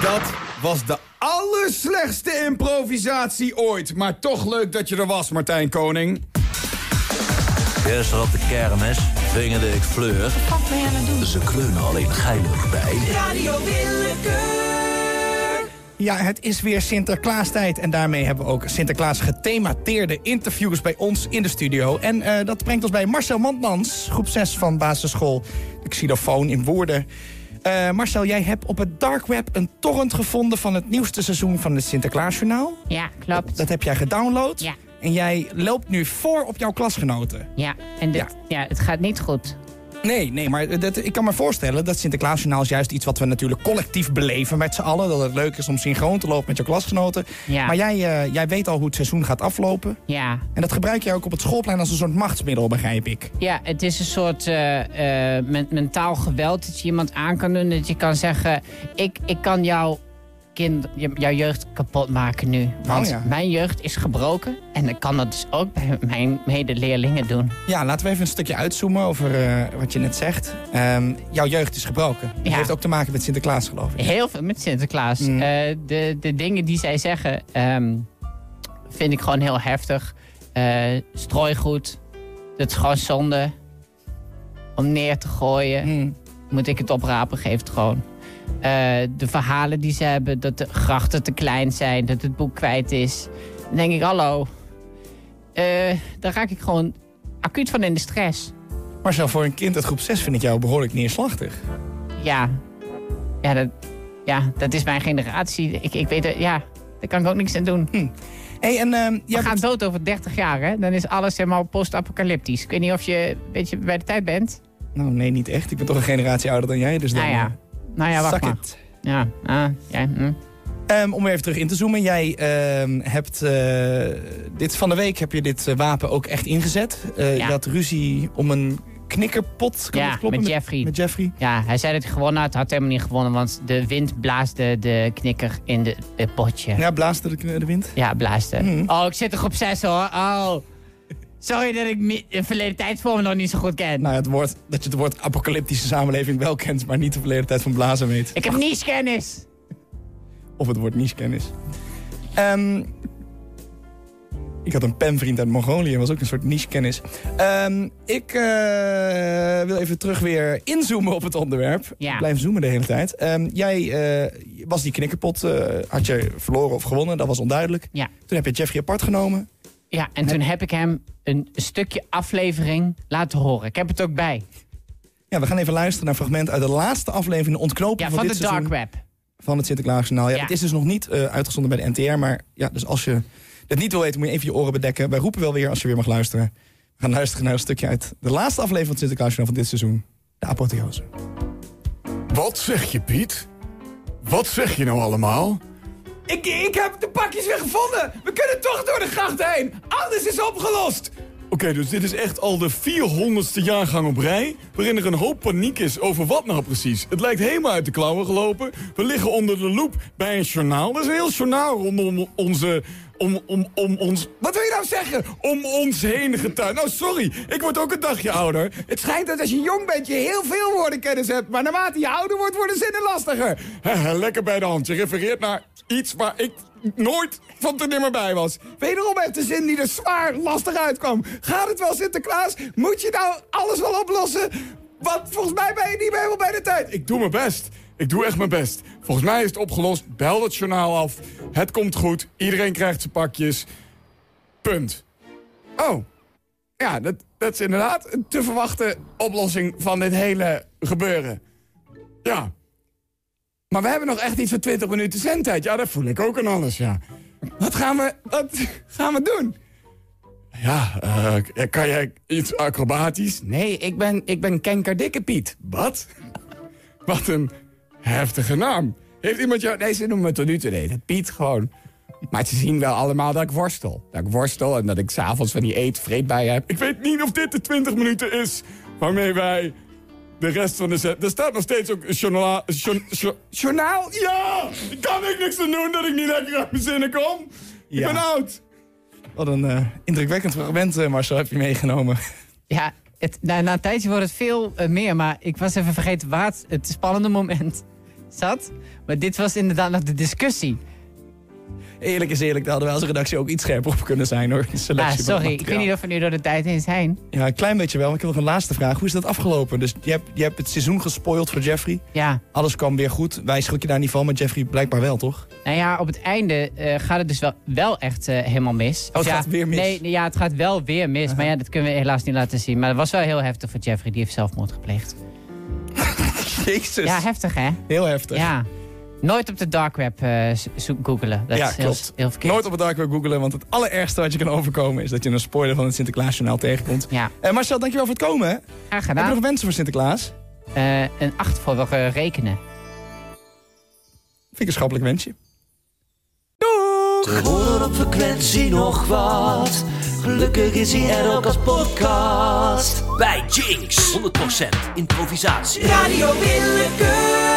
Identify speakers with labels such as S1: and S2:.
S1: Dat was de allerslechtste improvisatie ooit. Maar toch leuk dat je er was, Martijn Koning.
S2: Gisteren op de kermis vingerde ik Fleur.
S3: Wat ben je aan het doen?
S2: Ze kleunen alleen geilig bij.
S3: Radio Willekeur.
S4: Ja, het is weer Sinterklaastijd. En daarmee hebben we ook Sinterklaas gethemateerde interviews bij ons in de studio. En eh, dat brengt ons bij Marcel Mandmans, groep 6 van basisschool De Xylofoon in Woerden. Eh, Marcel, jij hebt op het dark web een torrent gevonden van het nieuwste seizoen van het Sinterklaasjournaal.
S5: Ja, klopt.
S4: Dat heb jij gedownload.
S5: Ja.
S4: En jij loopt nu voor op jouw klasgenoten.
S5: Ja, en dit, ja. het gaat niet goed.
S4: Nee, nee, maar dat, ik kan me voorstellen dat Sinterklaasjournaal is juist iets wat we natuurlijk collectief beleven met z'n allen. Dat het leuk is om synchroon te lopen met je klasgenoten.
S5: Ja.
S4: Maar jij, eh, jij weet al hoe het seizoen gaat aflopen.
S5: Ja.
S4: En dat gebruik jij ook op het schoolplein als een soort machtsmiddel, begrijp ik.
S5: Ja, het is een soort eh, eh, men- mentaal geweld dat je iemand aan kan doen. Dat je kan zeggen, ik, ik kan jouw, kind, je- jouw jeugd kapot maken nu. Want
S4: ja.
S5: mijn jeugd is gebroken en ik kan dat dus ook bij mijn medeleerlingen doen.
S4: Ja, laten we even een stukje uitzoomen over eh, wat je net zegt. Ehm, jouw jeugd is gebroken. Dat
S5: Ja.
S4: heeft ook te maken met Sinterklaas, geloof ik.
S5: Heel veel met Sinterklaas.
S4: Mm.
S5: Eh, de, de dingen die zij zeggen ehm, vind ik gewoon heel heftig. Eh strooigoed, dat is gewoon zonde. Om neer te gooien,
S4: Mm.
S5: moet ik het oprapen, geef het gewoon. Eh, de verhalen die ze hebben, dat de grachten te klein zijn, dat het boek kwijt is. Dan denk ik, hallo, Eh daar raak ik gewoon acuut van in de stress.
S4: Marcel, voor een kind uit groep 6 vind ik jou behoorlijk neerslachtig.
S5: Ja, ja, dat, ja dat is mijn generatie. Ik, ik weet het, ja, daar kan ik ook niks aan doen.
S4: hey, en ehm, jij
S5: We gaan dood over 30 jaar, hè? Dan is alles helemaal post-apocalyptisch. Ik weet niet of je een beetje bij de tijd bent.
S4: Nou, nee, niet echt. Ik ben toch een generatie ouder dan jij, dus dan...
S5: Nou ja, nou ja, wacht
S4: Suck
S5: maar.
S4: it.
S5: Ja, ah, ja, hm.
S4: Ehm, om weer even terug in te zoomen. Jij ehm, hebt eh, dit van de week heb je dit eh, wapen ook echt ingezet. Eh,
S5: Ja.
S4: Je had ruzie om een knikkerpot. Kan
S5: Ja,
S4: dat kloppen?
S5: met Jeffrey.
S4: Met Jeffrey.
S5: Ja, hij zei dat hij gewonnen had. Had helemaal niet gewonnen, want de wind blaasde de knikker in de, het potje. Ja,
S4: Ja, blaasde de, kn- de wind.
S5: blaasde.
S4: Hmm.
S5: Oh, ik zit toch op 6 hoor. Oh. Sorry dat ik mi- de verleden tijdsvorm nog niet zo goed ken.
S4: Nou, het woord, dat je het woord apocalyptische samenleving wel kent, maar niet de verleden tijd van blazen weet.
S5: Ik heb niche-kennis.
S4: Of het woord niche-kennis. Ehm, ik had een penvriend uit Mongolië, was ook een soort niche-kennis. Ehm, ik eh, wil even terug weer inzoomen op het onderwerp.
S5: Ja.
S4: Ik Blijf zoomen de hele tijd. Ehm, jij eh, was die knikkerpot, eh, had je verloren of gewonnen, dat was onduidelijk.
S5: Ja.
S4: Toen heb je Jeffrey apart genomen.
S5: Ja, en toen heb ik hem een stukje aflevering laten horen. Ik heb het ook bij.
S4: Ja, we gaan even luisteren naar een fragment uit de laatste aflevering... de ontknoping
S5: Ja,
S4: van,
S5: van
S4: dit
S5: de dark
S4: seizoen
S5: web.
S4: van het Sinterklaasjournaal. Ja,
S5: Ja.
S4: Het is dus nog niet eh, uitgezonden bij de NTR, maar ja, dus als je dat niet wil weten... moet je even je oren bedekken. Wij roepen wel weer als je weer mag luisteren. We gaan luisteren naar een stukje uit de laatste aflevering van het Sinterklaasjournaal van dit seizoen. De apotheose.
S6: Wat zeg je, Piet? Wat zeg je nou allemaal?
S1: Ik, ik heb de pakjes weer gevonden. We kunnen toch door de gracht heen. Alles is opgelost.
S6: Oké, dus dit is echt al de 400ste jaargang op rij... waarin er een hoop paniek is over wat nou precies. Het lijkt helemaal uit de klauwen gelopen. We liggen onder de loep bij een journaal. Er is een heel journaal rondom onze... Om, om, om ons... Wat wil je nou zeggen? Om ons heen getuind. Nou, sorry. Ik word ook een dagje ouder.
S1: Het schijnt dat als je jong bent je heel veel woordenkennis hebt. Maar naarmate je ouder wordt, worden zinnen lastiger.
S6: Haha, Lekker bij de hand. Je refereert naar iets waar ik nooit van te nimmer bij was.
S1: Wederom heeft de zin die er zwaar lastig uitkwam. Gaat het wel, Sinterklaas? Moet je nou alles wel oplossen? Want volgens mij ben je niet meer helemaal bij de tijd.
S6: Ik doe mijn best. Ik doe echt mijn best. Volgens mij is het opgelost. Bel dat journaal af. Het komt goed. Iedereen krijgt zijn pakjes. Punt.
S1: Oh,
S6: Ja, dat, dat is inderdaad een te verwachte oplossing van dit hele gebeuren. Ja. Maar we hebben nog echt iets van 20 minuten zendtijd. Ja, dat voel ik ook aan alles, ja.
S1: wat gaan we, wat gaan we doen?
S6: Ja, eh, kan jij iets acrobatisch?
S1: Nee, ik ben, ik ben Kenkerdikke Piet.
S6: Wat? Wat een heftige naam.
S1: Heeft iemand jou... Nee, ze noemen me tot nu toe nee, dat Piet gewoon. Maar ze zien wel allemaal dat ik worstel. Dat ik worstel en dat ik s'avonds van die eet vreed bij heb.
S6: Ik weet niet of dit de 20 minuten is waarmee wij de rest van de set. Er staat nog steeds ook journaal. journ- jour-
S1: Journaal?
S6: ja! Ik kan ik niks aan doen dat ik niet lekker uit mijn zinnen kom.
S4: Ja.
S6: Ik ben oud.
S4: Wat een eh, indrukwekkend fragment, eh, Marcel, heb je meegenomen.
S5: Ja, het, na, na een tijdje wordt het veel eh, meer, maar ik was even vergeten waar het, het spannende moment zat. Maar dit was inderdaad nog de discussie.
S4: Eerlijk is eerlijk, daar hadden wij als redactie ook iets scherper op kunnen zijn hoor. De selectie
S5: Ah,
S4: van
S5: sorry,
S4: het
S5: ik weet niet of we nu door de tijd heen zijn.
S4: materiaal. Ja, een klein beetje wel, maar ik heb nog een laatste vraag. Hoe is dat afgelopen? Dus je hebt, je hebt het seizoen gespoild voor Jeffrey.
S5: Ja,
S4: Alles kwam weer goed. Wij schrik je daar niet van, maar Jeffrey blijkbaar wel, toch?
S5: nou ja, op het einde eh, gaat het dus wel, wel echt eh, helemaal mis.
S4: Oh, het
S5: ja,
S4: gaat weer mis. Uh-huh.
S5: Nee, nee, ja, het gaat wel weer mis. Maar ja, dat kunnen we helaas niet laten zien. Maar dat was wel heel heftig voor Jeffrey, die heeft zelfmoord gepleegd.
S4: Jezus.
S5: Ja, heftig hè?
S4: Heel heftig.
S5: Ja. Nooit op de dark web eh, zo- zo- googelen. Dat
S4: Ja,
S5: is heel,
S4: klopt.
S5: heel verkeerd.
S4: Nooit op het dark web googelen, want het allerergste wat je kan overkomen... is dat je een spoiler van het Sinterklaasjournaal tegenkomt.
S5: Ja,
S4: Eh, Marcel, dankjewel voor het komen. hè.
S5: graag
S4: Heb je
S5: gedaan.
S4: nog wensen voor Sinterklaas?
S5: Eh, een acht voor eh, rekenen.
S4: Vind ik een schappelijk wensje.
S7: Te horen op frequentie nog wat. Gelukkig is hij er ook als podcast. Bij Jinx. 100% improvisatie.
S3: Radio Willekeur.